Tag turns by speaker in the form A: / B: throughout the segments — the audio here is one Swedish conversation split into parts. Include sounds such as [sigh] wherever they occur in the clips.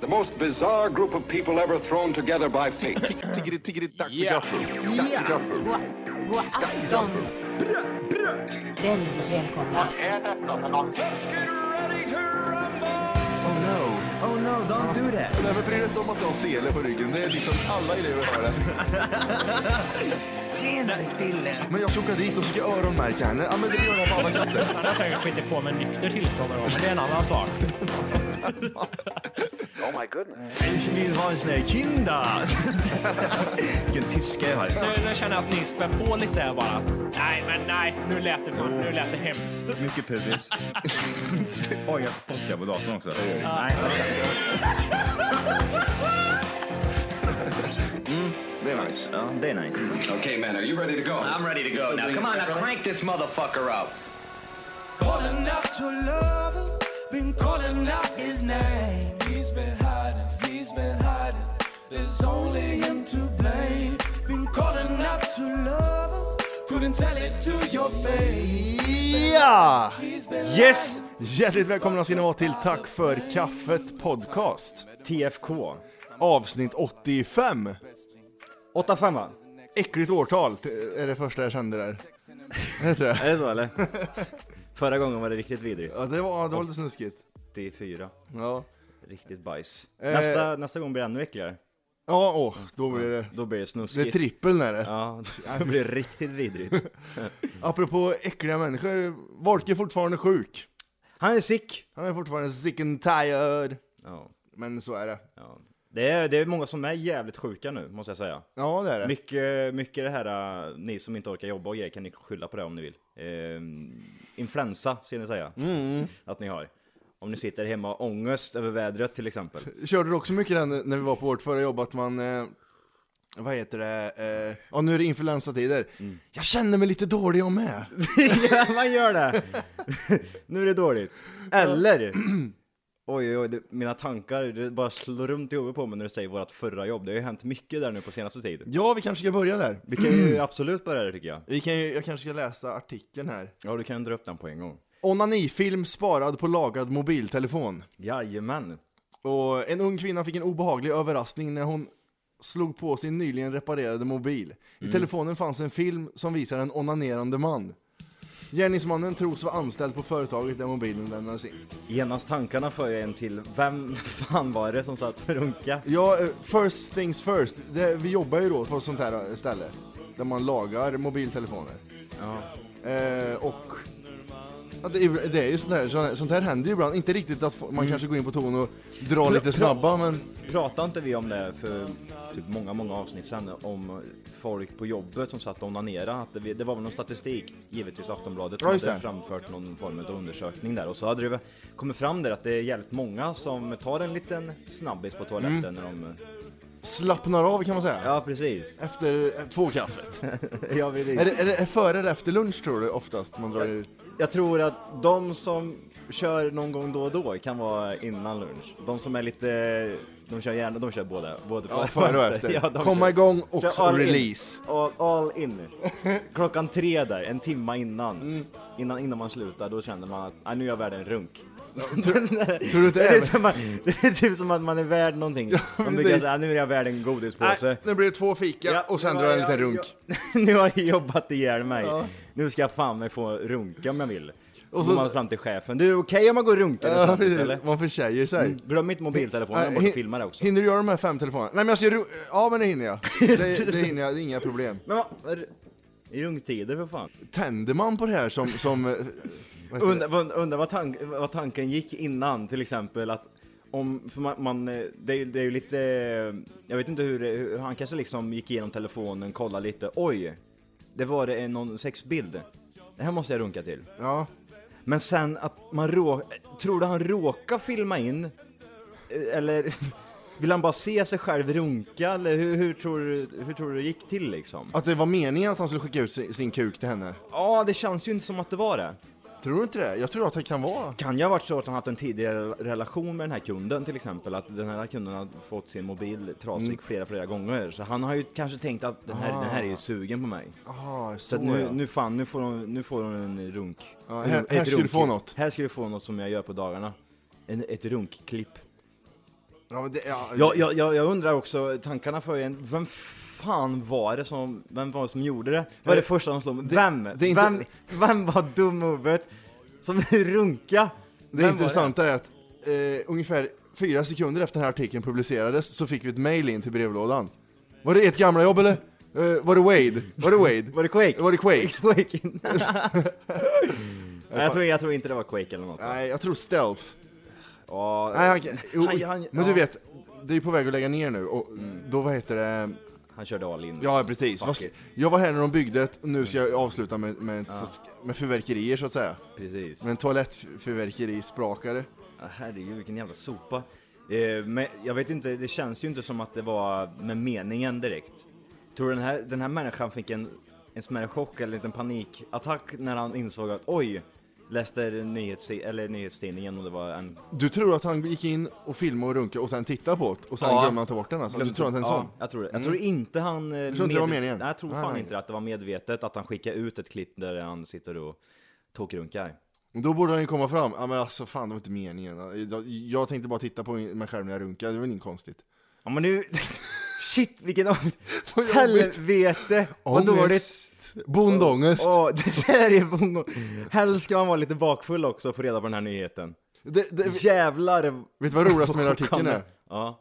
A: The most bizarre group of people ever thrown together by fate.
B: Tiggeri, tiggeri, tack för
C: Yeah.
B: kaffet. Tack för
D: Oh,
B: kaffet.
E: God, god afton. Väldigt välkomna.
D: Oh no, oh no, don't do that.
B: Nej, men bry dig inte om att du har sele på ryggen. Det är liksom alla elever har det.
D: Tjena killen!
B: Men jag ska åka dit och ska öronmärka henne. Ja, men det gör jag på alla katter.
F: Han har säkert skitit på med nykter tillstånd någon gång, men det är en annan sak.
D: Ich vill ha en sån här kinda. Vilken tyska jag har.
F: Nu, nu känner jag att ni spär på lite här bara. Nej, men nej, nu lät det, för, nu lät det hemskt. [laughs]
D: Mycket pubis. Oj, jag spottar på datorn också. Nej,
B: Det är nice.
D: ja, det är nice.
A: [laughs] okay, man, are you ready to go? I'm ready to go. Now, come on, now crank this motherfucker up.
G: Calling out to lover, been calling out his name. He's been hiding, he's been hiding. There's only him to blame. Been calling out to lover, couldn't tell it to your face.
B: Ja!
G: He's been
D: Yes!
B: Hjärtligt välkomna ska ni vara till Tack för kaffet podcast.
D: TFK.
B: Avsnitt 85.
D: 8-5 va?
B: Äckligt årtal t- är det första jag kände där. Heter det?
D: Är det så eller? [laughs] Förra gången var det riktigt vidrigt.
B: Ja, det var, det var lite snuskigt.
D: 84.
B: Ja.
D: Riktigt bajs.
B: Eh.
D: Nästa, nästa gång blir det ännu äckligare.
B: Ja, åh, då blir det...
D: Då blir det
B: Det är
D: snuskigt.
B: trippeln är det.
D: Ja, [laughs] då blir det riktigt vidrigt.
B: Apropå äckliga människor, Volke är fortfarande sjuk.
D: Han är sick!
B: Han är fortfarande sick and tired.
D: Ja,
B: Men så är det.
D: ja. Det, är, det är många som är jävligt sjuka nu, måste jag säga.
B: Ja, det är det.
D: Mycket, mycket det här, eh, ni som inte orkar jobba och grejer kan ni skylla på det om ni vill. Ehm, influensa, ska ni säga.
B: Mm.
D: Att ni har. Om ni sitter hemma och har ångest över vädret till exempel.
B: Körde du också mycket den när vi var på vårt förra jobb att man, eh, vad heter det, eh, ja nu är det influensatider. Jag känner mig lite dålig jag med.
D: ja, man gör det! [laughs] nu är det dåligt. [clears throat] Eller! Oj, oj, oj, det, mina tankar det bara slår runt i huvudet på mig när du säger vårt förra jobb. Det har ju hänt mycket där nu på senaste tiden.
B: Ja, vi kanske ska börja där.
D: Vi kan [clears throat] ju absolut börja där tycker jag.
B: Vi kan ju, jag kanske ska läsa artikeln här.
D: Ja, du kan dra upp den på en gång.
B: Onanifilm sparad på lagad mobiltelefon.
D: Jajamän.
B: Och en ung kvinna fick en obehaglig överraskning när hon slog på sin nyligen reparerade mobil. I telefonen fanns en film som visar en onanerande man. Gärningsmannen tros vara anställd på företaget där mobilen lämnades in.
D: Genast tankarna för jag en till. Vem [laughs] fan var det som satt och runka?
B: Ja, eh, first things first. Det, vi jobbar ju då på ett sånt här eh, ställe där man lagar mobiltelefoner. Eh, och ja, det, är, det är ju sånt här, sånt- sånt här händer ju ibland. Inte riktigt att få- man kanske går in på ton och drar
D: Pl-
B: lite
D: pl-
B: snabba, men
D: Pratade inte vi om det för typ många, många avsnitt sedan om folk på jobbet som satt och onanerade? Att det, det var väl någon statistik, givetvis Aftonbladet, som
B: Ja, just
D: hade
B: det.
D: framfört någon form av undersökning där och så hade det väl kommit fram där att det är jävligt många som tar en liten snabbis på toaletten
B: Mm.
D: när de...
B: slappnar av kan man säga.
D: Ja,
B: [laughs]
D: precis.
B: Efter eh, två kaffet.
D: ja, precis.
B: är, det, är det är före eller efter lunch tror du oftast man drar ut?
D: Jag tror att de som kör någon gång då och då kan vara innan lunch. De som är lite, de kör gärna, de kör båda. Både
B: Ja, före och efter.
D: [laughs] Ja, de
B: Komma
D: kör-
B: igång och
D: kör
B: så
D: all in.
B: release.
D: All, all in. Klockan tre där, en timma innan. Innan, innan man slutar, då känner man att "Ah, nu är jag värd en runk. [laughs]
B: Tror du inte
D: Det
B: det?
D: är,
B: är-
D: som att, det är typ som att man är värd någonting. Man brukar
B: precis.
D: säga "Ah, nu är jag värd en godispåse.
B: Nej, nu blir det två fika
D: Ja,
B: och sen
D: nu
B: drar
D: har
B: jag en liten
D: jag-
B: runk.
D: [laughs] nu har jag jobbat ihjäl mig.
B: Ja.
D: Nu ska jag fan mig få runka om jag vill. Och
B: Och
D: så
B: så-
D: går man fram till chefen. Du, är det okej om man går och runkar med
B: Ja,
D: kompis,
B: precis.
D: eller?
B: Man försäger sig.
D: Glöm inte mobiltelefonen, jag
B: Mm. Nej,
D: borde
B: hin-
D: filma det också.
B: Hinner du göra de här fem telefonerna? Nej men alltså, jag ser ru- Ja men det hinner [laughs] jag. Det, det hinner jag, det är inga problem.
D: Men vad? är det Rungtider för fan.
B: Tänder man på det här som... som eh, vad heter det?
D: Undrar und, undra vad, tank, vad tanken gick innan, till exempel att om, för man, man eh, det, är, ju- det är ju lite, eh, jag vet inte hur, det- hur han kanske liksom gick igenom telefonen, kollade lite, oj, det var det en- någon sexbild. Det här måste jag runka till.
B: ja.
D: Men sen att man rå... Tror du han råkar filma in? Eh, Eller [laughs] vill han bara se sig själv runka? Eller hur, hur, tror, du, hur tror du det gick till liksom?
B: Att det var meningen att han skulle skicka ut sin, sin kuk till henne.
D: Ja, det känns ju inte som att det var det.
B: Tror du inte det? Jag tror att det kan vara...
D: Kan ju ha varit så att han haft en tidigare relation med den här kunden till exempel. Att den här kunden har fått sin mobil trasig
B: Mm.
D: flera, flera gånger. Så han har ju kanske tänkt att den här, den här är ju sugen på mig.
B: Ah,
D: Så
B: så
D: att nu,
B: ja.
D: nu fan, nu får hon, nu får hon en runk.
B: Ja,
D: En
B: här-
D: runk-
B: här
D: ett
B: ska du få
D: runk-
B: något. Mm.
D: Här ska du få något som jag gör på dagarna. En, ett runkklipp.
B: Ja, men det, ja,
D: Jag, jag, jag, jag undrar också, tankarna för en, vem fan var det som, vem var det som gjorde det? Vad är det första de slog mig? Vem?
B: Eh, det är inte-
D: vem? Vem var dum i huvudet som [laughs] runka?
B: det intressanta är att eh, ungefär fyra sekunder efter den här artikeln publicerades så fick vi ett mail in till brevlådan. Var det ert gamla jobb eller? Eh, var det Wade? Var det Wade?
D: Var det Quake?
B: var det Quake?
D: Quake?
B: [laughs] Mm.
D: Nej, jag, tror, jag tror inte det var Quake eller något.
B: Nej, jag tror Stealth.
D: Ja, eh,
B: Nej, han, jo,
D: Han- han-
B: men
D: ja.
B: du vet, det är på väg att lägga ner nu och då vad heter det?
D: han körde all in.
B: Ja precis, Vad ska-
D: it.
B: jag var här när de byggde ett, och nu ska jag avsluta med, med, ett sorts- med fyrverkerier så att säga.
D: Precis.
B: Med en toalettfyrverkerisprakare.
D: Ah, Herregud vilken jävla sopa. Eh, men jag vet inte, det känns ju inte som att det var med meningen direkt. Tror du den här, den här människan fick en, en smärre chock eller en liten panikattack när han insåg att oj, läste nyhets, eller nyhetstidningen och det var en...
B: Du tror att han gick in och filmade och runkade och sen tittade på det och sen
D: Ja.
B: glömde han ta bort den alltså? Du tror att det är en
D: ja,
B: sån? Mm.
D: Jag tror det. Jag tror inte han... Du
B: tror inte det var meningen?
D: Nej, jag tror fan
B: Nej.
D: inte att det var medvetet att han skickade ut ett klipp där han sitter och tokrunkar.
B: Då borde han ju komma fram, ja men alltså fan det var inte meningen. Jag, jag tänkte bara titta på mig själv när jag runkade, det var inget konstigt.
D: Ja men nu... [laughs] Shit vilken...
B: Vad jobbigt.
D: Helvete! Vad dåligt!
B: Ångest! Bondångest!
D: Åh, det där är bongo. Helst ska man vara lite bakfull också och få reda på den här nyheten.
B: Det, det,
D: Jävlar!
B: Eh, Vet du vad roligast med den här artikeln är?
D: Ja.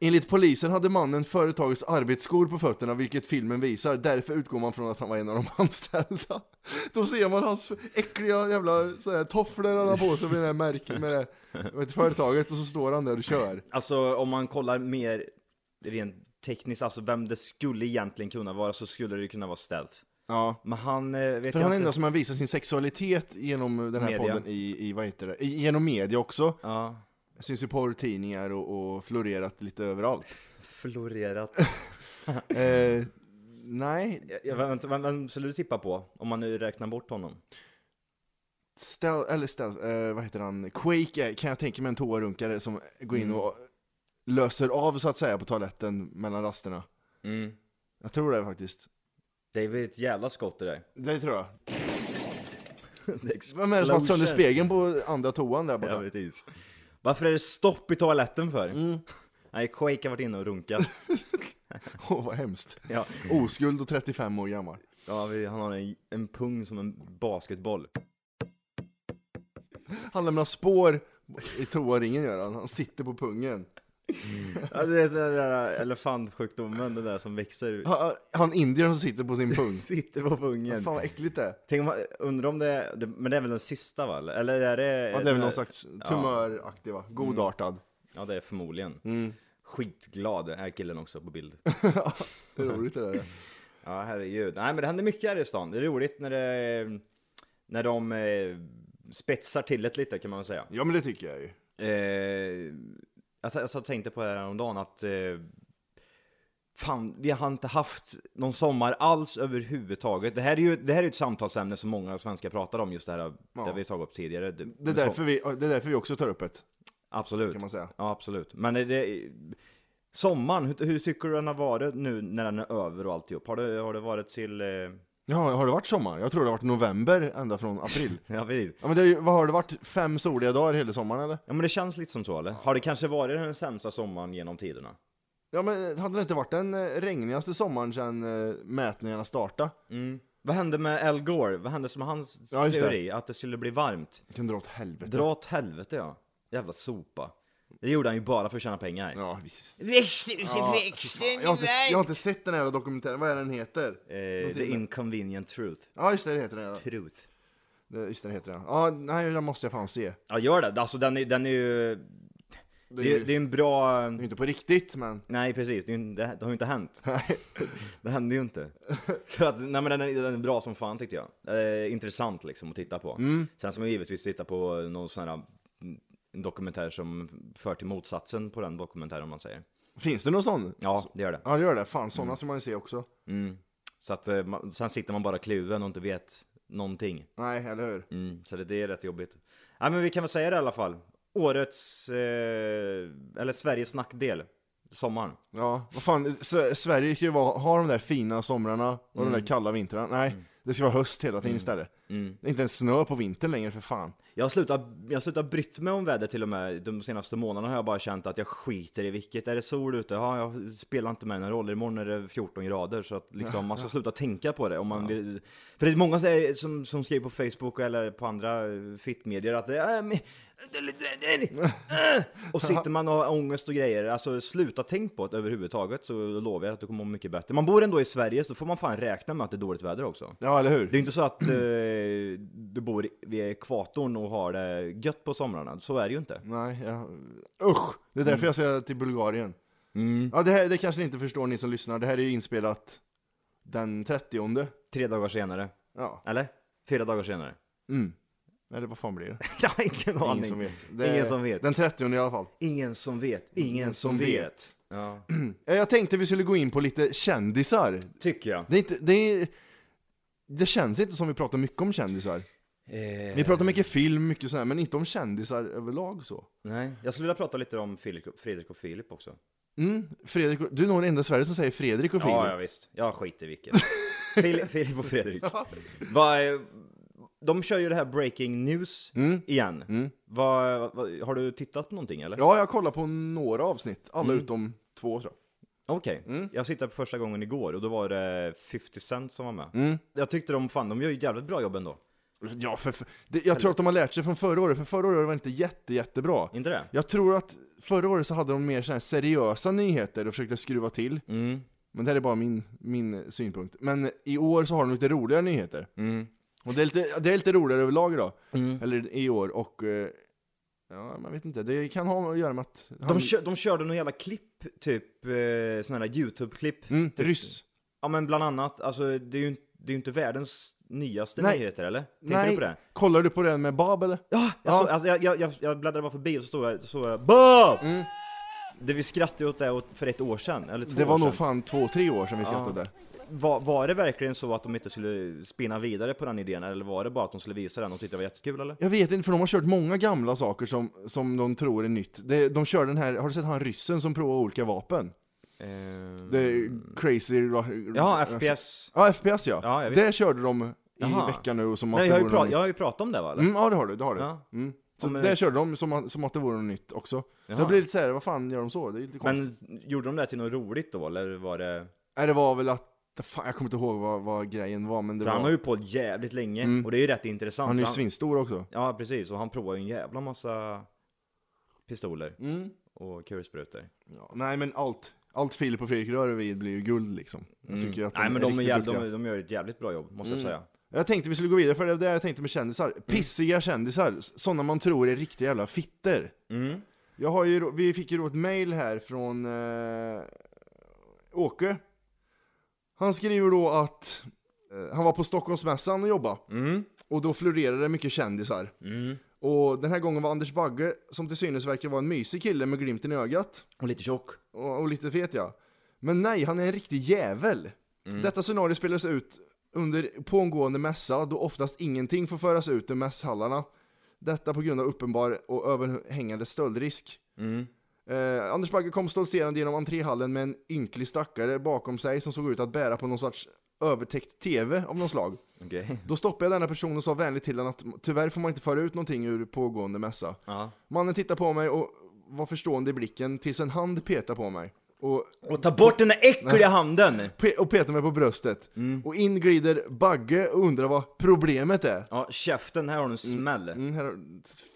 B: Enligt polisen hade mannen företagets arbetsskor på fötterna, vilket filmen visar. Därför utgår man från att han var en av de [laughs] anställda. Då ser man hans äckliga jävla så här, tofflor han har på sig med det här märket med det vet, företaget och så står han där och kör.
D: Alltså om man kollar mer rent tekniskt, alltså vem det skulle egentligen kunna vara så skulle det ju kunna vara ställt.
B: Ja.
D: Men han, eh, vet
B: För
D: jag
B: han är
D: inte.
B: enda som har visat sin sexualitet genom den här
D: Media.
B: podden i, i, vad heter det? I, genom media också.
D: Ja,
B: Syns i porrtidningar och, och florerat lite överallt.
D: [laughs] florerat.
B: Eh, nej,
D: Jag- jag, vem, vem, vem skulle du tippa på? Om man nu räknar bort honom.
B: Stel, eller stel, eh, vad heter han? Quake är, kan jag tänka mig en toarunkare som går in och löser av så att säga på toaletten mellan rasterna.
D: Mm.
B: Jag tror det faktiskt.
D: Det är väl ett jävla skott det där.
B: Det tror jag.
D: Det är
B: Vem är det som har haft sönder
D: explosion.
B: spegeln på andra toan där borta?
D: Ja, precis. Varför är det stopp i toaletten för?
B: Mm.
D: Nej, Quake har varit inne
B: [laughs]
D: och runkat.
B: Åh vad hemskt.
D: ja.
B: Oskuld och 35 år gammal.
D: Ja, vi, han har en, en pung som en basketboll.
B: Han lämnar spår i toaringen gör han. Han sitter på pungen.
D: Ja, det är sån där elefantsjukdomen, den där som växer.
B: Han, han indier som sitter på sin
D: [laughs]
B: pung.
D: Sitter på pungen.
B: Fan vad äckligt det är.
D: Tänk om, undrar om det är, det- men det är väl den sista va? Eller är det?
B: Ja, Mm. det är väl någon slags tumöraktig va? Godartad.
D: Ja, det är förmodligen.
B: Mm.
D: Skitglad är killen också på bild.
B: Hur roligt det där är.
D: Ja, herregud. Nej, men det händer mycket här i stan. Det är roligt när det, när de eh, spetsar till det lite kan man väl säga.
B: Ja men det tycker jag ju.
D: Eh, alltså, alltså, jag tänkte på det här om dagen att eh, fan, vi har inte haft någon sommar alls överhuvudtaget. Det här är ju det här är ju ett samtalsämne som många svenskar pratar om just det här, det vi tagit upp tidigare.
B: Det är, därför vi, det är därför vi också tar upp ett.
D: absolut.
B: kan man säga.
D: Ja, absolut. Men är det, sommaren, hur, hur tycker du den har varit nu när den är över och alltihop? Har det, har det varit till... Eh, [laughs]
B: Ja, har det varit sommar? Jag tror det har varit november ända från april.
D: ja, precis.
B: Ja men det, är ju- vad har det varit? Fem soliga dagar hela sommaren eller?
D: ja, men det känns lite som så eller? Har det kanske varit den sämsta sommaren genom tiderna?
B: Ja men hade det inte varit den eh, regnigaste sommaren sedan eh, mätningarna startade?
D: Vad hände med Al Gore? Vad hände som hans
B: Ja, just det.
D: teori? Att det skulle bli varmt?
B: Det kunde dra åt helvete.
D: Dra åt helvete ja. Jävla sopa. Det gjorde han ju bara för att tjäna pengar.
B: Ja visst.
C: Växthuseffekten
B: Jag har, inte, jag har inte sett den här dokumentären, vad är den heter?
D: Eh, the inconvenient truth.
B: Ja just det, det heter den ja.
D: Truth.
B: Det- Just det, det heter den. Ja, nej den måste jag fan se.
D: Ja gör det, alltså den är, den är ju...
B: Det är
D: Det är,
B: ju
D: det är en bra...
B: det är inte på riktigt men...
D: Nej precis, det, är ju en- det, det har ju inte hänt.
B: Nej.
D: Det hände ju inte. Så att, nej men den är, den är bra som fan tyckte jag. Eh, intressant liksom att titta på. Sen ska man ju givetvis titta på någon sån här mm, dokumentär som för till motsatsen på den dokumentären om man säger.
B: Finns det någon sån?
D: Ja, det gör det.
B: Ja det gör det, fan sådana ska man ju se också.
D: Så att eh, man, sen sitter man bara kluven och inte vet någonting.
B: Nej, eller hur?
D: Mm, så det, det är rätt jobbigt. Ja, men vi kan väl säga det i alla fall. Årets, eh, eller Sveriges nackdel, sommaren.
B: Ja, vad fan, S- Mm. Sverige kan ju vara, ha de där fina somrarna och de där kalla vintrarna. Nej, det ska vara höst hela tiden istället. Det är inte ens snö på vintern längre för fan.
D: Jag har slutat, jag har slutat brytt mig om vädret till och med. De senaste månaderna har jag bara känt att jag skiter i vilket. Är det sol ute? Ja, jag spelar inte mig någon roll. Imorgon är det 14 grader. Så att liksom, man ska sluta tänka på det. Om man vill. För det är många som- som, som skriver på Facebook eller på andra fittmedier att det är... "Äh, men- Och sitter man och har ångest och grejer, alltså sluta tänk på det överhuvudtaget så lovar jag att du kommer må mycket bättre. Man bor ändå i Sverige så får man fan räkna med att det är dåligt väder också.
B: Ja, eller hur?
D: Det är inte så att eh, du bor vid ekvatorn och har det gött på somrarna, så är det ju inte.
B: Nej, jag... usch! Det är därför jag säger till Bulgarien. Ja, det, här, det kanske ni inte förstår ni som lyssnar. Det här är ju inspelat den 30
D: Tre dagar senare,
B: Ja,
D: eller? Fyra dagar senare? [laughs]
B: eller vad fan blir det?
D: Jag har ingen aning.
B: Ingen som vet. Det är
D: Ingen som vet.
B: Den 30 i alla fall.
D: Ingen som vet. Ingen som vet. Ja.
B: Eh, Jag tänkte vi skulle gå in på lite kändisar.
D: Tycker jag.
B: Det, är inte, det, är, det känns inte som vi pratar mycket om kändisar.
D: Eh.
B: Vi pratar mycket film, mycket sådär, men inte om kändisar överlag så.
D: Nej, jag skulle vilja prata lite om Filip, Fredrik och Filip också.
B: Mm, Fredrik, och- du är nog den enda i Sverige som säger Fredrik och Filip.
D: Ja, ja visst. Jag skiter i [laughs] vilket. Fili- Filip och Fredrik. Vad är- de kör ju det här breaking news igen. Vad, vad, har du tittat på någonting eller?
B: Ja, jag kollar på några avsnitt, alla
D: Mm.
B: utom två tror jag.
D: Okej,
B: Mm.
D: jag tittade på första gången igår och då var det 50 Cent som var med. Jag tyckte de, fan de gör ju ett jävligt bra jobb ändå.
B: Mm. Ja, för, för, det, jag tror att de har lärt sig från förra året, för förra året var det inte jätte, jättebra.
D: Inte det?
B: Jag tror att förra året så hade de mer så här seriösa nyheter och försökte skruva till. Men det här är bara min, min synpunkt. Men i år så har de lite roligare nyheter.
D: Mm.
B: Och det är lite, det är lite roligare överlag idag. Eller i år. Och eh, ja, man vet inte. Det kan ha att göra med att...
D: De, kö, de körde några jävla klipp, typ eh, sådana här YouTube-klipp.
B: mm, ryss.
D: Ja men bland annat, alltså det är ju, inte- det är ju inte världens nyaste
B: Nej.
D: nyheter eller? Tänkte
B: Nej,
D: du på det?
B: kollar du på den med Bab eller?
D: Ja, jag,
B: Ja.
D: såg- alltså, jag, jag, jag, jag bläddrade bara förbi och så stod jag, så såg jag BOB! Det vi skrattade åt det åt- för ett år sedan, eller två
B: Mm. Det var
D: år
B: nog
D: sedan.
B: fan två, tre år sedan vi skrattade.
D: Var, var det verkligen så att de inte skulle spinna vidare på den idén, eller var det bara att de skulle visa den och tyckte det var jättekul eller?
B: Jag vet inte, för de har kört många gamla saker som, som de tror är nytt. De, de kör den här, har du sett han ryssen som provar olika vapen? Det är crazy... Ru-
D: Ehm. Ja,
B: Ru-
D: FPS.
B: Ja, FPS ja.
D: Ja, jag vet.
B: det körde de i
D: Jaha.
B: veckan nu och som
D: Nej,
B: att
D: jag, har
B: det
D: ju
B: vore något
D: pra- jag har
B: nytt.
D: ju pratat om det va? Eller?
B: Mm, ja, det har du. Det har du.
D: Ja.
B: Mm. Så
D: Om, eh,
B: det körde de som, som att det vore något nytt också. Så
D: Jaha.
B: jag blir lite såhär, vad fan gör de så? Det är lite konstigt.
D: Men gjorde de det till något roligt då, eller var det?
B: Nej, det var väl att, fan, jag kommer inte ihåg vad, vad grejen var, men det
D: För han
B: var... Mm.
D: har ju på jävligt länge, och det är ju rätt intressant.
B: Han är ju
D: för
B: svinstor också.
D: Ja, precis. Och han provar ju en jävla massa pistoler
B: Mm.
D: och kulsprutor.
B: Ja, nej, men allt. Allt Filip och Fredrik rör vid blir ju guld liksom. Jag tycker att de
D: Nej, men
B: är
D: de, är
B: riktigt
D: jävla,
B: duktiga. Mm.
D: de, de gör ju ett jävligt bra jobb, måste jag säga.
B: Jag tänkte vi skulle gå vidare, för det var det jag tänkte med kändisar. Pissiga kändisar, sådana man tror är riktiga jävla fitter. Jag har ju, då- vi fick ju då ett mail här från eh, Åke. Han skriver då att eh, han var på Stockholmsmässan och jobbade. Och då florerade det mycket kändisar. Och den här gången var Anders Bagge, som till synes verkar vara en mysig kille med glimten i ögat.
D: Och lite tjock.
B: Och, och lite fet ja. Men nej, han är en riktig jävel. Detta scenario spelas ut under pågående mässa då oftast ingenting får föras ut ur mässhallarna. Detta på grund av uppenbar och överhängande stöldrisk. Eh, Anders Bagge kom stoltserande genom entréhallen med en ynklig stackare bakom sig som såg ut att bära på någon sorts övertäckt tv av någon slag.
D: Okej.
B: Då stoppade jag denna person och sa vänligt till honom att tyvärr får man inte föra ut någonting ur pågående mässa. Mannen tittade på mig och var förstående i blicken tills en hand petade på mig. Och,
D: Och ta bort den där äckliga handen!
B: pe- och petade mig på bröstet. Och in glider Bagge och undrar vad problemet är.
D: Ja, käften, här har du en smäll.
B: Mm, här,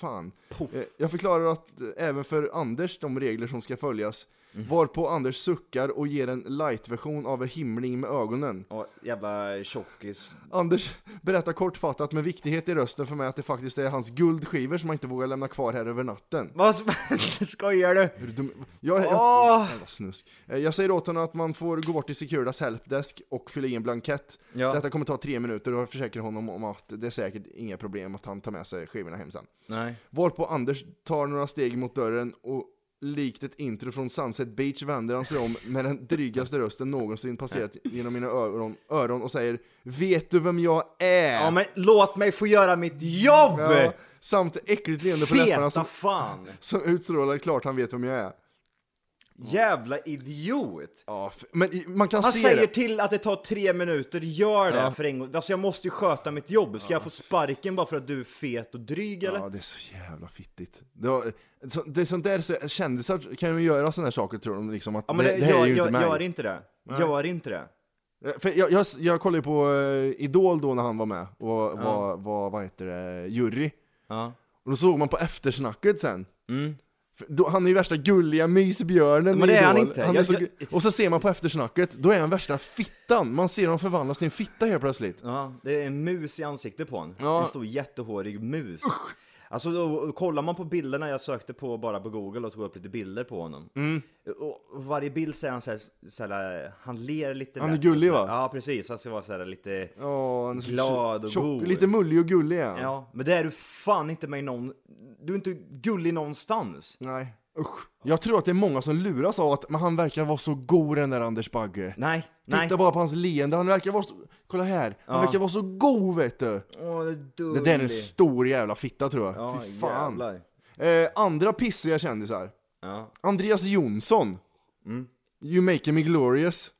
B: fan. Eh, Jag förklarar att eh, även för Anders de regler som ska följas. Varpå Anders suckar och ger en light-version av en himling med ögonen.
D: Ja, jävla tjockis.
B: Anders berättar kortfattat med viktighet i rösten för mig att det faktiskt är hans guldskivor som han inte vågar lämna kvar här över natten.
D: Vad s- [laughs] skojar du?
B: Är du dum? Jag, jag,
D: Åh!
B: Jävla snusk. Eh, Jag säger åt honom att man får gå bort till Securitas helpdesk och fylla i en blankett.
D: Ja.
B: Detta kommer ta tre minuter och jag försäkrar honom om att det är säkert inga problem att han tar med sig skivorna hem sen.
D: Nej.
B: Varpå Anders tar några steg mot dörren och likt ett intro från Sunset Beach vänder han sig om med den drygaste rösten någonsin passerat genom mina öron, öron och säger Vet du vem jag är?
D: Ja, men låt mig få göra mitt jobb!
B: Ja, samt äckligt leende på läpparna
D: Feta
B: som,
D: fan!
B: som utstrålar klart han vet vem jag är.
D: Jävla idiot!
B: Ja, f- men i- man kan
D: Han
B: se
D: säger typ
B: det.
D: till att det tar tre minuter, gör det för en gång. Alltså jag måste ju sköta mitt jobb, ska jag få sparken bara för att du är fet och dryg eller?
B: Ja, det är så jävla fittigt. Det, var, så, det är sånt där, så, kändisar kan ju göra såna här saker tror de liksom att
D: Ja,
B: det,
D: men
B: det, här
D: gör,
B: är ju
D: gör,
B: inte mig. Eh,
D: gör inte det. Gör inte det.
B: För jag, jag, jag kollade ju på eh, Idol då när han var med och var, var, var vad heter det, jury.
D: Ja.
B: Och då såg man på eftersnacket sen. För Då, han är ju värsta gulliga mysbjörnen
D: Mm. Men
B: i
D: det är han
B: Idol.
D: inte.
B: Han är
D: Jag-
B: så,
D: jag-
B: gu- Och så ser man på eftersnacket, då är han värsta fittan. Man ser honom förvandlas till en fitta helt plötsligt.
D: Ja, det är en mus i ansiktet på honom.
B: Ja.
D: En stor jättehårig mus. Alltså då, och kollar man på bilderna, jag sökte på bara på google och tog upp lite bilder på honom.
B: Mm.
D: Och, och varje bild säger han så här, så här, han ler lite
B: Han är
D: lätt och
B: gullig,
D: så här.
B: va?
D: Ja precis, han ska vara så här lite
B: Ja, han är så
D: Glad och
B: tjock,
D: god.
B: Lite mullig och gullig är han.
D: Ja, men det är du fan inte med i någon... Du är inte gullig någonstans.
B: Nej, usch. Jag tror att det är många som luras av att men han verkar vara så god den där Anders Bagge.
D: Nej, nej.
B: Titta bara på hans leende, han verkar vara så... Kolla här, han
D: Ja.
B: verkar vara så god vet du.
D: Åh, det är
B: Det
D: dullig.
B: där är en stor jävla fitta tror jag.
D: Ja,
B: Fy fan.
D: jävlar.
B: Eh, andra pissiga kändisar.
D: Ja.
B: Andreas Jonsson.
D: Mm.
B: You make me glorious.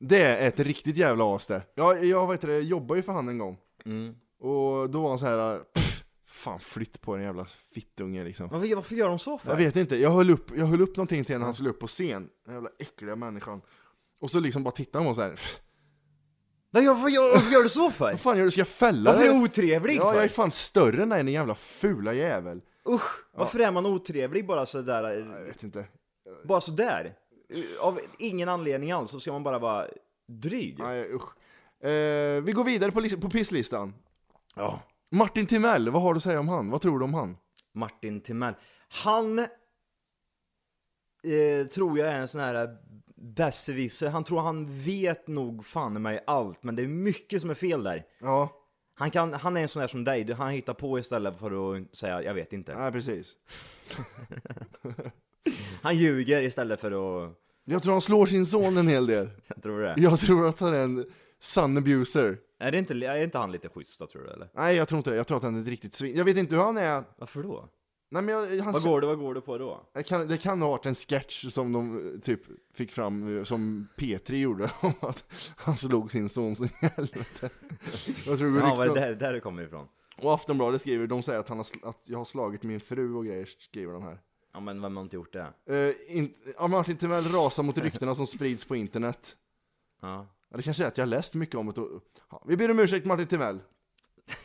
B: Det är ett riktigt jävla as det. Jag, jag vet det, jobbade ju för han en gång.
D: Mm.
B: Och då var han så här, "Pff, fan flytt på den jävla fittunge liksom.
D: Varför, varför gör de så för?
B: Jag vet inte, jag höll upp, jag höll upp någonting till när han skulle upp på scen. Den jävla äckliga människan. Och så liksom bara tittade han på mig såhär.
D: Nej, varför, gör, varför gör du så för?
B: [laughs] Vad fan gör du? Ska jag fälla
D: Varför är
B: dig?
D: du otrevlig
B: Ja,
D: för?
B: jag är fan större än dig, din jävla fula jävel.
D: Usch, varför är man otrevlig bara sådär?
B: Jag vet inte.
D: Bara sådär? Av ingen anledning alls så ska man bara vara dryg.
B: Nej, usch. Eh, vi går vidare på, lis- på pisslistan. Martin Timell, vad har du att säga om han? Vad tror du om han?
D: Martin Timell. Han eh, tror jag är en sån här besserwisser. Han tror han vet nog fan i mig allt, men det är mycket som är fel där.
B: Ja,
D: Han, kan, han är en sån där som dig, Du- han hittar på istället för att säga jag vet inte.
B: nej precis.
D: Han ljuger istället för att... [laughs]
B: Jag tror han slår sin son en hel del.
D: Jag tror det.
B: Jag tror att han är en son abuser.
D: Är, det inte, är inte han lite schysst då tror du eller?
B: Nej, jag tror inte det. Jag tror att han är ett riktigt svin. Jag vet inte hur han är.
D: Varför då?
B: Nej, men jag, han
D: Vad går, du, vad går du på då?
B: Det kan, det kan ha varit en sketch som de eh, typ fick fram, eh, som P3 gjorde, [laughs] om att han slog sin son så i helvete. Jag tror det går
D: Ja, var det
B: rykten.
D: där, där du kommer ifrån?
B: Och Aftonbladet skriver, de säger att, han har, sl- att jag har slagit min fru och grejer, skriver de här.
D: Ja men vem har inte gjort det?
B: Uh, in, ja, Martin Timell rasar mot ryktena som sprids på internet.
D: Ja.
B: Ja, det kanske är att jag har läst mycket om det. Och, ja, vi ber om ursäkt Martin Timell.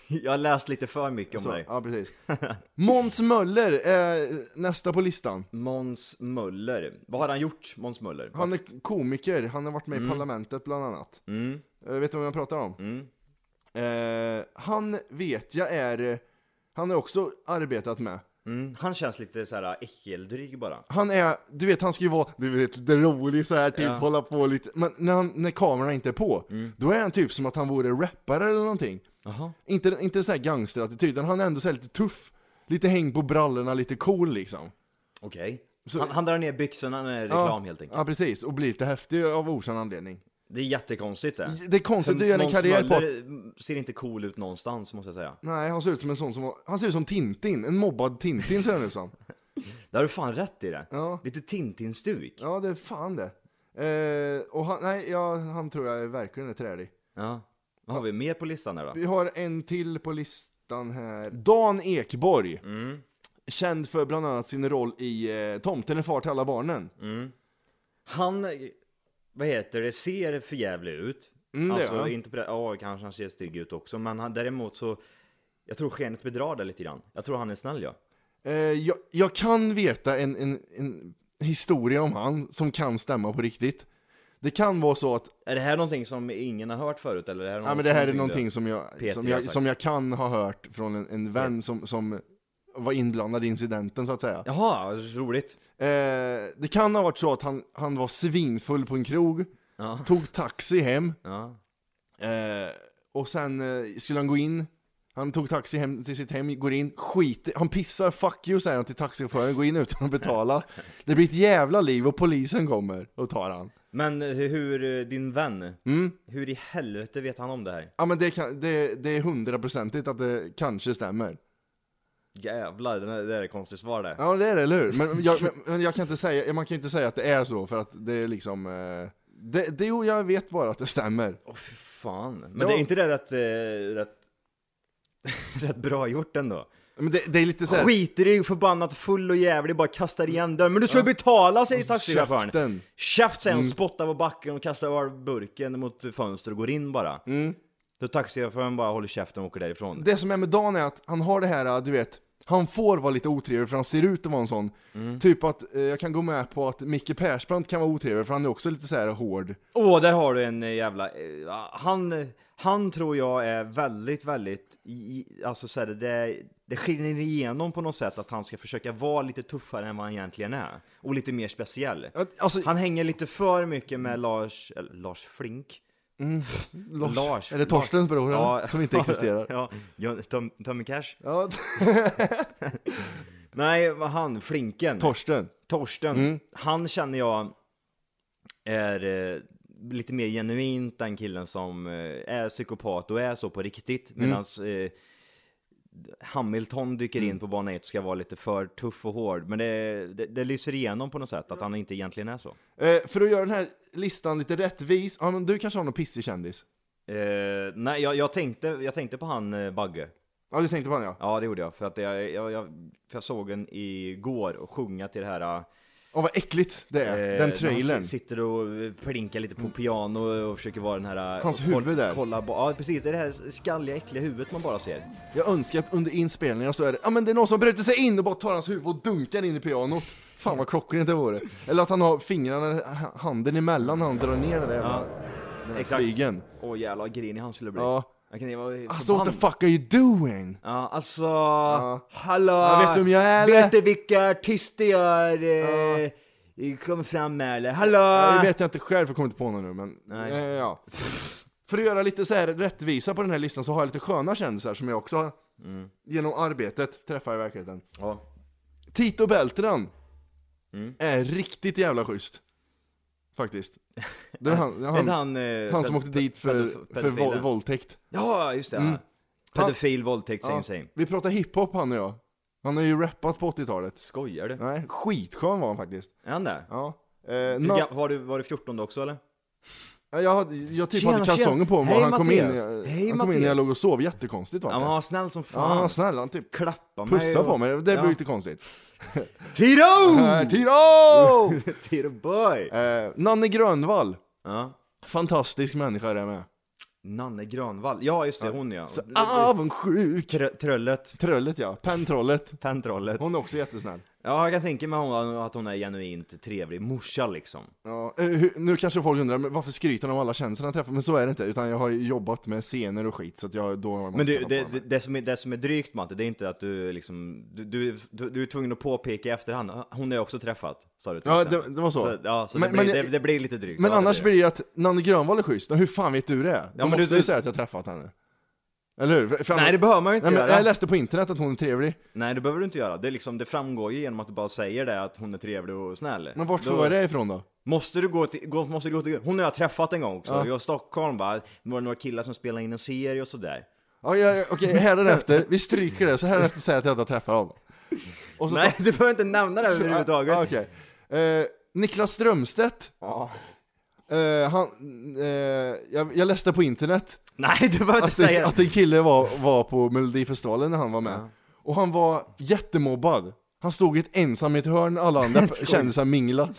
D: Jag har läst lite för mycket om
B: Så,
D: dig.
B: ja,
D: [laughs]
B: precis. Måns Möller är nästa på listan.
D: Måns Möller. Vad har han gjort, Måns Möller?
B: Han är komiker, han har varit med i Parlamentet bland annat.
D: Mm.
B: Eh, vet du vad jag pratar om?
D: Mm.
B: Eh, han vet jag är, eh, han har också arbetat med.
D: Mm. Han känns lite så här äckeldryg bara.
B: Han är, du vet han ska ju vara, du vet, lite rolig så här typ,
D: Ja. Mm.
B: hålla på lite. Men när, han, när kameran inte är på, då är han typ som att han vore rappare eller någonting.
D: Jaha.
B: Inte, inte så här gangsterattityd, utan han är ändå så här lite tuff. Lite häng på brallorna, lite cool liksom.
D: Okej.
B: Så-
D: Han, han drar ner byxorna när det är reklam helt enkelt.
B: Ja precis, och blir lite häftig av okänd anledning.
D: Det är jättekonstigt det.
B: Det är konstigt att
D: För
B: göra en
D: Måns
B: karriär på att...
D: Möller ser inte cool ut någonstans måste jag säga.
B: Nej, han ser ut som en sån som, han ser ut som Tintin, en mobbad Tintin ser han ut
D: [laughs]
B: som.
D: Där har du fan rätt i det.
B: Ja.
D: Lite Tintin-stuk. Ja.
B: Ja, det är fan det. Eh, och han, nej, ja, han tror jag är verkligen är trälig.
D: Vad har vi mer på listan där då?
B: Vi har en till på listan här. Dan Ekborg.
D: Mm.
B: Känd för bland annat sin roll i eh, Tomten är far till alla barnen.
D: Han, vad heter det, ser för jävlig ut.
B: Mm, det
D: alltså,
B: gör han.
D: inte på det, ja, kanske han ser stygg ut också, men han, däremot så, jag tror skenet bedrar det lite grann. Jag tror han är snäll ja.
B: Eh, jag, jag kan veta en, en, en historia om han som kan stämma på riktigt. Det kan vara så att,
D: Är det här någonting som ingen har hört förut eller? Är det
B: ja men det här är någonting som jag,
D: Mm. Peter
B: som
D: har
B: jag,
D: sagt.
B: som jag kan ha hört från en, en vän som, som var inblandad i incidenten så att säga.
D: Jaha, roligt.
B: Eh, det kan ha varit så att han, han var svinfull på en krog,
D: Ja.
B: tog taxi hem
D: Ja.
B: eh, och sen eh, skulle han gå in. Han tog taxi hem till sitt hem, går in, skiter, han pissar 'fuck you' säger han till taxichauffören, går in utan att betala. Det blir ett jävla liv och polisen kommer och tar han.
D: Men eh, hur, din vän,
B: Mm.
D: hur i helvete vet han om det här?
B: Ja men det, kan, det, det är hundraprocentigt att det kanske stämmer.
D: Jävlar, den här, det här är konstigt svar det.
B: Ja det är det, eller hur? Men jag, men, men jag kan inte säga, man kan ju inte säga att det är så för att det är liksom eh, det, det, jo, jag vet bara att det stämmer.
D: Åh fy fan. Men
B: Ja.
D: det är inte det rätt, eh, rätt, [laughs] rätt bra gjort ändå?
B: Men det, det är lite såhär...
D: Skitdryg, förbannat, full och jävlig, bara kastar igen dörren. Men du ska ju betala, säger taxichauffören.
B: Käften! Mm.
D: Käft säger hon, spottar på backen och kastar ölburken mot fönstret och går in bara. Mm. Då taxichauffören bara håller käften och åker därifrån.
B: Det som är med Dan är att han har det här, du vet, han får vara lite otrevlig för han ser ut att vara en sån. Typ att, eh, jag kan gå med på att Micke Persbrandt kan vara otrevlig för han är också lite så här hård.
D: Åh, där har du en eh, jävla... eh, ja, Han, han tror jag är väldigt, väldigt... i- i- Alltså så här, det, det skiner igenom på något sätt att han ska försöka vara lite tuffare än vad han egentligen är. Och lite mer speciell.
B: Att- Alltså,
D: Han hänger lite för mycket med Lars... Eller Lars Flink?
B: Lars,
D: Lars.
B: Är det Torstens bror eller? som
D: [laughs]
B: inte [laughs] existerar?
D: ja, John- Tom, Tommy Cash?
B: Ja,
D: Nej, vad han, Flinken.
B: Torsten.
D: Torsten, han känner jag är eh, lite mer genuint den killen som eh, är psykopat och är så på riktigt. Medan eh, Hamilton dyker in på bana 1 och ska vara lite för tuff och hård. Men det, det, det lyser igenom på något sätt att han inte egentligen är så.
B: Eh, för att göra den här listan lite rättvis, ja men du kanske har någon pissig kändis?
D: Eh, nej, jag, jag, tänkte, jag tänkte på han eh, Bagge.
B: Ja du tänkte på honom ja.
D: Ja, det gjorde jag. För att jag, jag, jag, för jag såg en igår och sjunga till det här eh,
B: Åh vad äckligt det är,
D: Eh,
B: den
D: när
B: trailern. Mm.
D: Han si- sitter och eh, plinkar lite på piano och försöker vara den här... eh,
B: Hans
D: och
B: huvud där.
D: Kolla, bo- ja, precis. Det är det här skalliga, äckliga huvudet man bara ser.
B: Jag önskar att under inspelningen så är det, ja men det är någon som bryter sig in och bara tar hans huvud och dunkar in i pianot. Fan vad klockrent det vore. Eller att han har fingrarna, h- handen emellan när han drar ner den där jävla
D: Exakt.
B: flygeln.
D: Åh jävlar vad grinig han skulle bli.
B: Ja.
D: Jag kan ju vara
B: Alltså what the
D: förbannad.
B: fuck are you doing?
D: Ja, alltså... Hallå!
B: Ja, vet du vem jag är, eller?
D: Vet du vilka artister jag eh, kommer fram med eller? Hallå!
B: Ja, Det vet jag inte själv, jag kommer inte på någon nu men,
D: Ah. Nej.
B: Eh, ja. För att göra lite så här rättvisa på den här listan så har jag lite sköna kändisar som jag också
D: Mm.
B: genom arbetet träffar i verkligheten.
D: Ja.
B: Tito Beltran
D: Mm.
B: är riktigt jävla schysst.
D: [laughs]
B: Faktiskt. Det är han, det är
D: Är inte
B: han,
D: han... eh,
B: han som
D: ped-
B: åkte dit för,
D: pedof-
B: för våld,
D: pedofilen?
B: våldtäkt.
D: Ja, just det.
B: Mm.
D: Pedofil, våldtäkt, same
B: Ja.
D: same.
B: Vi pratar hiphop han och jag. Han har ju rappat på 80-talet.
D: Skojar du?
B: Nej, skitskön var han faktiskt.
D: Är han där?
B: Ja. Eh,
D: Hur
B: na,
D: ga- Var, du, var du 14 då också eller?
B: Ja, Jag, hade, jag typ
D: Tjena,
B: hade kalsonger
D: tjena.
B: på mig och
D: Hej,
B: han kom in,
D: Mattias.
B: jag,
D: Hej,
B: han kom in
D: Mattias.
B: när jag låg och sov, jättekonstigt var
D: Ja,
B: det.
D: men han var snäll som fan.
B: Ja, han var snäll, han typ
D: Klappa mig.
B: pussade på mig, det blev lite konstigt.
D: Tiro! [laughs]
B: Eh, [laughs] Tiro!
D: Tiro boy!
B: eh, Nanne Grönvall,
D: Ja.
B: fantastisk människa det med.
D: Nanne Grönvall. Ja, just det. Hon ja.
B: Så avundsjuk!
D: Tr- tröllet.
B: Tröllet ja, pentrollet.
D: Pentrollet.
B: Hon är också jättesnäll.
D: Ja, jag kan tänka mig hon- att hon är genuint trevlig morsa liksom.
B: Ja, eh, hur- nu kanske folk undrar men varför skryter de om alla tjänster han träffar, men så är det inte, utan jag har ju jobbat med scener och skit så att jag då har man
D: Men du,
B: tappat
D: det,
B: på henne.
D: det, det, som är, det som är drygt Matte, det är inte att du liksom, du, du, du, du är tvungen att påpeka i efterhand, hon är också träffat, sa du till
B: Ja,
D: exempel.
B: det- det var så.
D: ja, så
B: Men-
D: det, blir,
B: men-
D: det, det blir lite drygt.
B: Men
D: ja, det
B: annars blir det ju att Nanne Grönvall är schysst, hur fan vet du det? Då
D: men du-
B: måste du
D: du-
B: säga att jag träffat henne. Eller hur? För- för
D: Nej,
B: annars-
D: det behöver man ju inte
B: Nej, men
D: göra.
B: jag läste på internet att hon är trevlig.
D: Nej det behöver du inte göra, det, är liksom, det framgår ju genom att du bara säger det att hon är trevlig och snäll
B: Men vart
D: Då-
B: får jag det ifrån då?
D: Måste du gå till, gå, måste du gå till, hon har jag träffat en gång också,
B: Ja.
D: jag var i Stockholm bara, det var några killar som spelade in en serie och sådär
B: Ja, ja, ja, Okej, hädanefter, vi stryker det, så hädanefter säger jag att jag inte har träffat honom. Och så
D: Nej du behöver inte nämna det [laughs] överhuvudtaget!
B: Ah, okej. Eh, Niklas Strömstedt,
D: Ja.
B: eh, han, eh, jag, jag läste på internet
D: Nej du behöver inte
B: att,
D: säga
B: det,
D: det!
B: Alltså, att en kille var, var på Melodifestivalen när han var med. Och han var jättemobbad. Han stod helt ensam i ett hörn, alla
D: [laughs]
B: andra kändisar mingla.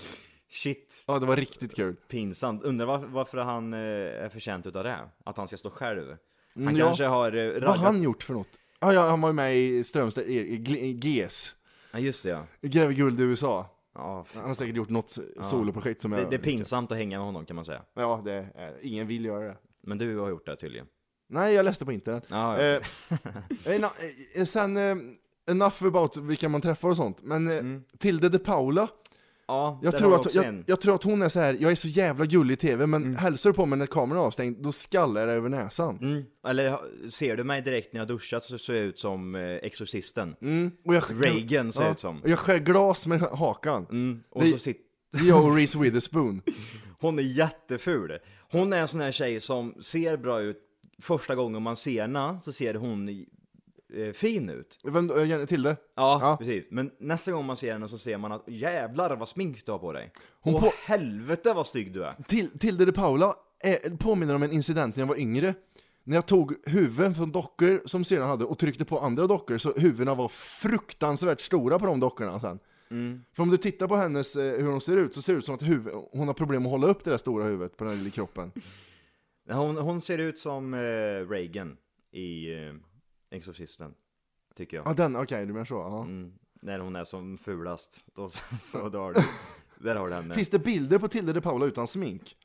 D: Shit,
B: Ja, det var riktigt kul.
D: pinsamt, undrar varför, varför han eh, är förtjänt utav det? Att han ska stå själv? Han
B: Mm, ja.
D: kanske har eh,
B: Vad
D: raggat...
B: har han gjort för något? Ah, ja, han var ju med i Strömstedt, i, i, Gl- i GES,
D: Ja just det ja,
B: Gräver guld i USA.
D: ja f-
B: Han har säkert gjort något soloprojekt som
D: det,
B: jag...
D: det är pinsamt att hänga med honom kan man säga
B: Ja, det är Ingen vill göra det.
D: Men du har gjort det tydligen
B: Nej, jag läste på internet.
D: Ja,
B: Eh,
D: ja.
B: [laughs] eh, na- eh, sen, eh, enough about vilka man träffar och sånt. Men eh, Tilde de Paula,
D: Ja,
B: jag
D: Mm. där
B: tror,
D: har du
B: att,
D: också
B: jag,
D: en.
B: jag tror att hon är så här. jag är så jävla gullig i tv, men hälsar du på mig när kameran är avstängd, då skallar jag dig över näsan.
D: Mm. Eller ha- ser du mig direkt när jag duschat så ser jag ut som eh, Exorcisten.
B: Och jag,
D: Reagan ser jag ut som.
B: Och jag skär glas med hakan.
D: Mm. Och
B: Det-
D: så sitter...
B: Det är jag och Reese
D: [laughs]
B: Witherspoon.
D: Hon är jätteful. Hon är en sån här tjej som ser bra ut första gången man ser henne så ser hon eh, fin ut.
B: Vem, eh, Jenny- Tilde?
D: Ja,
B: Ja.
D: precis. Men nästa gång man ser henne så ser man att jävlar vad smink du har på dig.
B: Hon
D: Åh
B: på-
D: helvete vad snygg du är.
B: Till, Tilde de Paula eh, påminner om en incident när jag var yngre. När jag tog huvuden från dockor som syrran hade och tryckte på andra dockor så huvudena var fruktansvärt stora på de dockorna sen.
D: Mm.
B: För om du tittar på hennes, eh, hur hon ser ut, så ser det ut som att huvud, hon har problem att hålla upp det där stora huvudet på den här lilla kroppen.
D: Hon, hon ser ut som eh, Reagan i eh, Exorcisten, tycker jag.
B: Ja, den, okej, du menar så. Ja.
D: Mm, när hon är som fulast. Då, [laughs] så, så, då har du, där har du henne.
B: Finns det bilder på Tilde de Paula utan smink?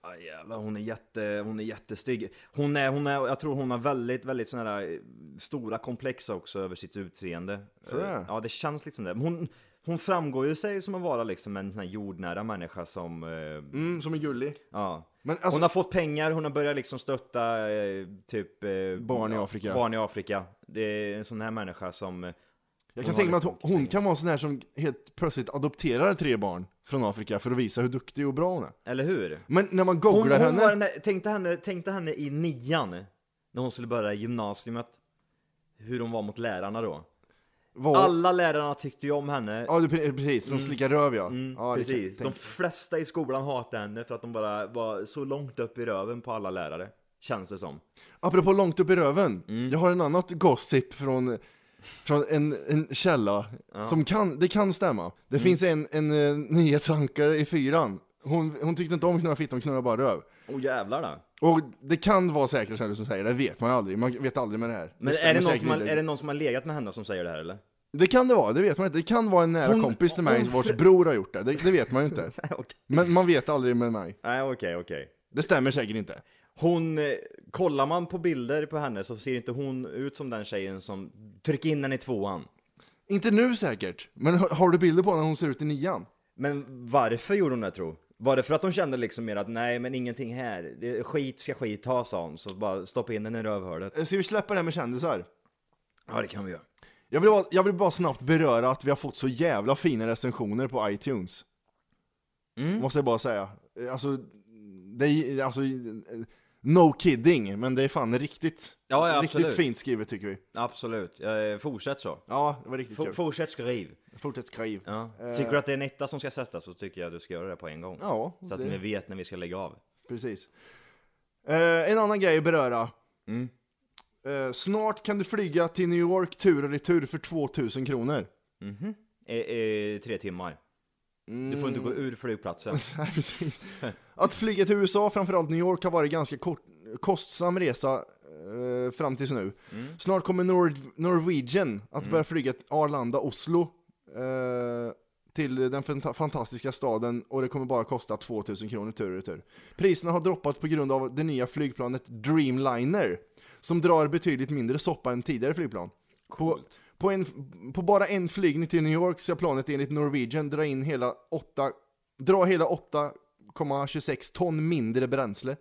D: Ah, jävlar, hon är, jätte, hon är jättestygg. Hon är, hon är, jag tror hon har väldigt, väldigt såna där eh, stora komplex också över sitt utseende.
B: Tror du
D: Eh,
B: det?
D: Ja, det känns liksom det. Men Hon, hon framgår ju sig som att vara liksom en sån här jordnära människa som, eh,
B: Mm, som är gullig.
D: ja.
B: Men alltså,
D: hon har fått pengar, hon har börjat liksom stötta eh, typ eh,
B: Barn i Afrika.
D: Barn i Afrika. Det är en sån här människa som eh,
B: jag
D: hon
B: kan
D: har
B: tänka mig att
D: lite
B: hon, hon kan vara en sån här som helt plötsligt adopterar tre barn från Afrika för att visa hur duktig och bra hon är.
D: Eller hur?
B: Men när man
D: Hon,
B: googlar
D: hon
B: henne...
D: var den där, tänkte, henne, tänkte henne i nian, när hon skulle börja gymnasiet, hur hon var mot lärarna då.
B: Var...
D: Alla lärarna tyckte ju om henne.
B: Ja, det, pre- precis. De slickar röv, ja.
D: Mm,
B: ja det
D: precis.
B: kan jag
D: De
B: tänka.
D: flesta i skolan hatade henne för att de bara var så långt upp i röven på alla lärare. Känns det som.
B: Apropå långt upp i röven.
D: Mm.
B: Jag har en annat gossip från, från en, en källa. Som kan, det kan stämma. Det
D: Mm.
B: finns en, en eh, nyhetsankare i fyran. Hon, hon tyckte inte om knulla fitta, hon knullade bara röv.
D: Åh jävlar då.
B: Och det kan vara säkert källor som säger det, det vet man ju aldrig. Man vet aldrig med det här.
D: Men
B: stämmer
D: är det, någon
B: säkert
D: som har,
B: inte.
D: är det någon som har legat med henne som säger det här [laughs] eller?
B: Det kan det vara, det vet man inte. Det kan vara en nära
D: Hon-
B: kompis till mig
D: hon-
B: vars bror har gjort det. det. Det vet man ju inte.
D: Okej.
B: Men man vet aldrig med mig.
D: Nej okej okej.
B: Det stämmer säkert inte.
D: Hon, eh, kollar man på bilder på henne så ser inte hon ut som den tjejen som trycker in henne i tvåan.
B: Inte nu säkert, men har- har du bilder på när hon ser ut i nian?
D: Men varför gjorde hon det tro? Var det för att hon kände liksom mer att nej men ingenting här, Det- skit ska skit ta sa hon, så bara stoppa in den i rövhålet.
B: Eh, Ska vi släppa det här med kändisar?
D: Ja det kan vi göra.
B: Jag vill, bara, jag vill bara snabbt beröra att vi har fått så jävla fina recensioner på iTunes. Måste jag bara säga. Eh, Alltså, det är, alltså, eh, no kidding, men det är fan riktigt,
D: Ja, ja,
B: riktigt
D: absolut.
B: fint skrivet tycker vi.
D: Absolut, eh, fortsätt så.
B: Ja, det var riktigt
D: F-
B: kul.
D: fortsätt skriv.
B: Fortsätt skriv.
D: Ja.
B: Eh.
D: Tycker du att det är en etta som ska sättas så tycker jag du ska göra det på en gång.
B: Ja,
D: så att
B: det-
D: ni vet när vi ska lägga av.
B: Precis. Eh, en annan grej att beröra. Mm. Eh, snart kan du flyga till New York tur och retur för 2000 kronor.
D: Eh, eh, tre timmar. Du får inte gå ur [laughs] flygplatsen.
B: [laughs] Nej, precis. Att flyga till USA, framförallt New York, har varit ganska kort, kostsam resa eh, fram tills nu. Snart kommer Nord Norwegian att börja flyga till Arlanda, Oslo, eh, till den fanta- fantastiska staden och det kommer bara kosta 2000 kronor tur och retur. Priserna har droppat på grund av det nya flygplanet Dreamliner, som drar betydligt mindre soppa än tidigare flygplan. På, på, en, på bara en flygning till New York ska planet enligt Norwegian dra in hela 8, dra hela 8,26 ton mindre bränsle.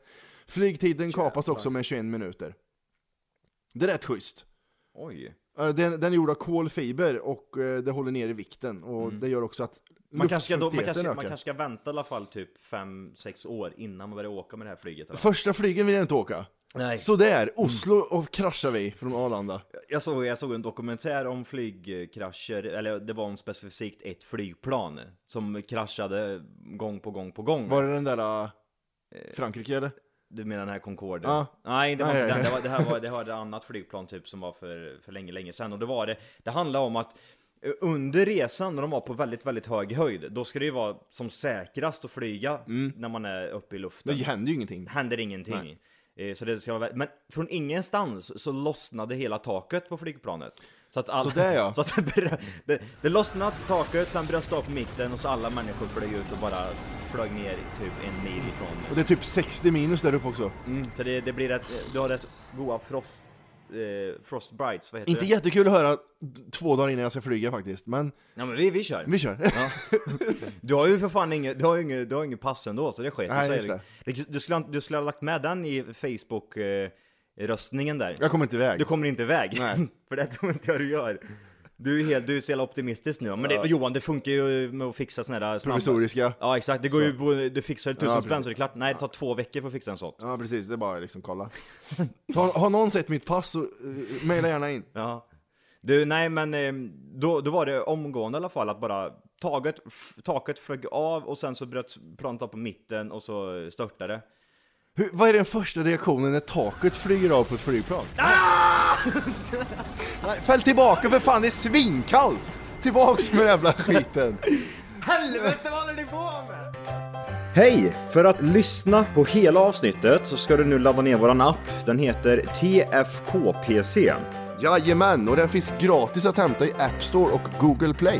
B: Flygtiden kapas också med 21 minuter. Det är rätt schysst.
D: Oj.
B: Eh, Den, den är gjord av kolfiber och eh, det håller ner i vikten och det gör också att
D: Mm. Man kanske, ska då, man,
B: luftfuktigheten
D: kanske, man
B: ökar.
D: kanske ska vänta i alla fall typ 5-6 år innan man börjar åka med det här flyget. eller?
B: Första flygen vill jag inte åka.
D: Nej. Mm.
B: Sådär, Oslo och kraschar vi från Arlanda.
D: [laughs] Jag såg, jag såg en dokumentär om flygkrascher, eller det var om specifikt ett flygplan som kraschade gång på gång på gång.
B: Var det den där eh, Frankrike eller?
D: Du menar den här Concorde?
B: Ja.
D: Nej, det var
B: Nej.
D: inte den. Det, var, det här var, det var ett annat flygplan typ som var för, för länge, länge sedan. Och det var det, det handlade om att eh, under resan när de var på väldigt, väldigt hög höjd, då ska det ju vara som säkrast att flyga
B: Mm.
D: när man är uppe i
B: Det
D: luften.
B: händer ju ingenting.
D: händer ingenting. Eh, Så det ska vara, vä- men från ingenstans så lossnade hela taket på flygplanet. Så att alla,
B: Sådär, ja.
D: [laughs] så att det, brö- det, det lossnade taket, sen bröts det upp mitten och så alla människor flög ut och bara flög ner typ en mil
B: Och
D: ifrån.
B: det är typ 60 minus där uppe också.
D: Så det, det blir rätt, du har rätt goa frost, eh, frostbrights, vad heter
B: Inte
D: det?
B: jättekul att höra två dagar innan jag ska flyga faktiskt, men
D: Ja men vi, vi kör!
B: vi kör.
D: Du har ju för fan inget, du har ju inget, du har inget pass ändå så det sker.
B: Nej,
D: du,
B: just
D: säger- du, du, skulle, ha- du skulle ha lagt med den i Facebook eh, röstningen där.
B: Jag kommer inte iväg.
D: [laughs] Du kommer inte iväg. För det tror inte jag du gör. Du är, helt, du är så jävla optimistisk nu. Men det, Johan, det funkar ju med att fixa såna där snabba...
B: Provisoriska.
D: Ja, exakt. Det går ju på, du fixar tusen
B: Ja, precis.
D: spänn så är det klart. Nej, det tar två veckor för att fixa en sån.
B: Ja precis, det är bara liksom kolla. [laughs] Har, har någon sett mitt pass så uh, mejla gärna in.
D: Ja. Du, nej men eh, då, då var det omgående i alla fall att bara taget, f- taket flög av och sen så bröt planet av på mitten och så eh, störtade det.
B: Hur, vad är den första reaktionen när taket flyger av på ett flygplan? Ah! [laughs] Nej, fäll tillbaka för fan, det är svinkallt! Tillbaks med den jävla [laughs] skiten!
D: Hej! För att lyssna på hela avsnittet så ska du nu ladda ner våran app. Den heter TFKPC.
B: Jajamän, och den finns gratis att hämta i App Store och Google Play.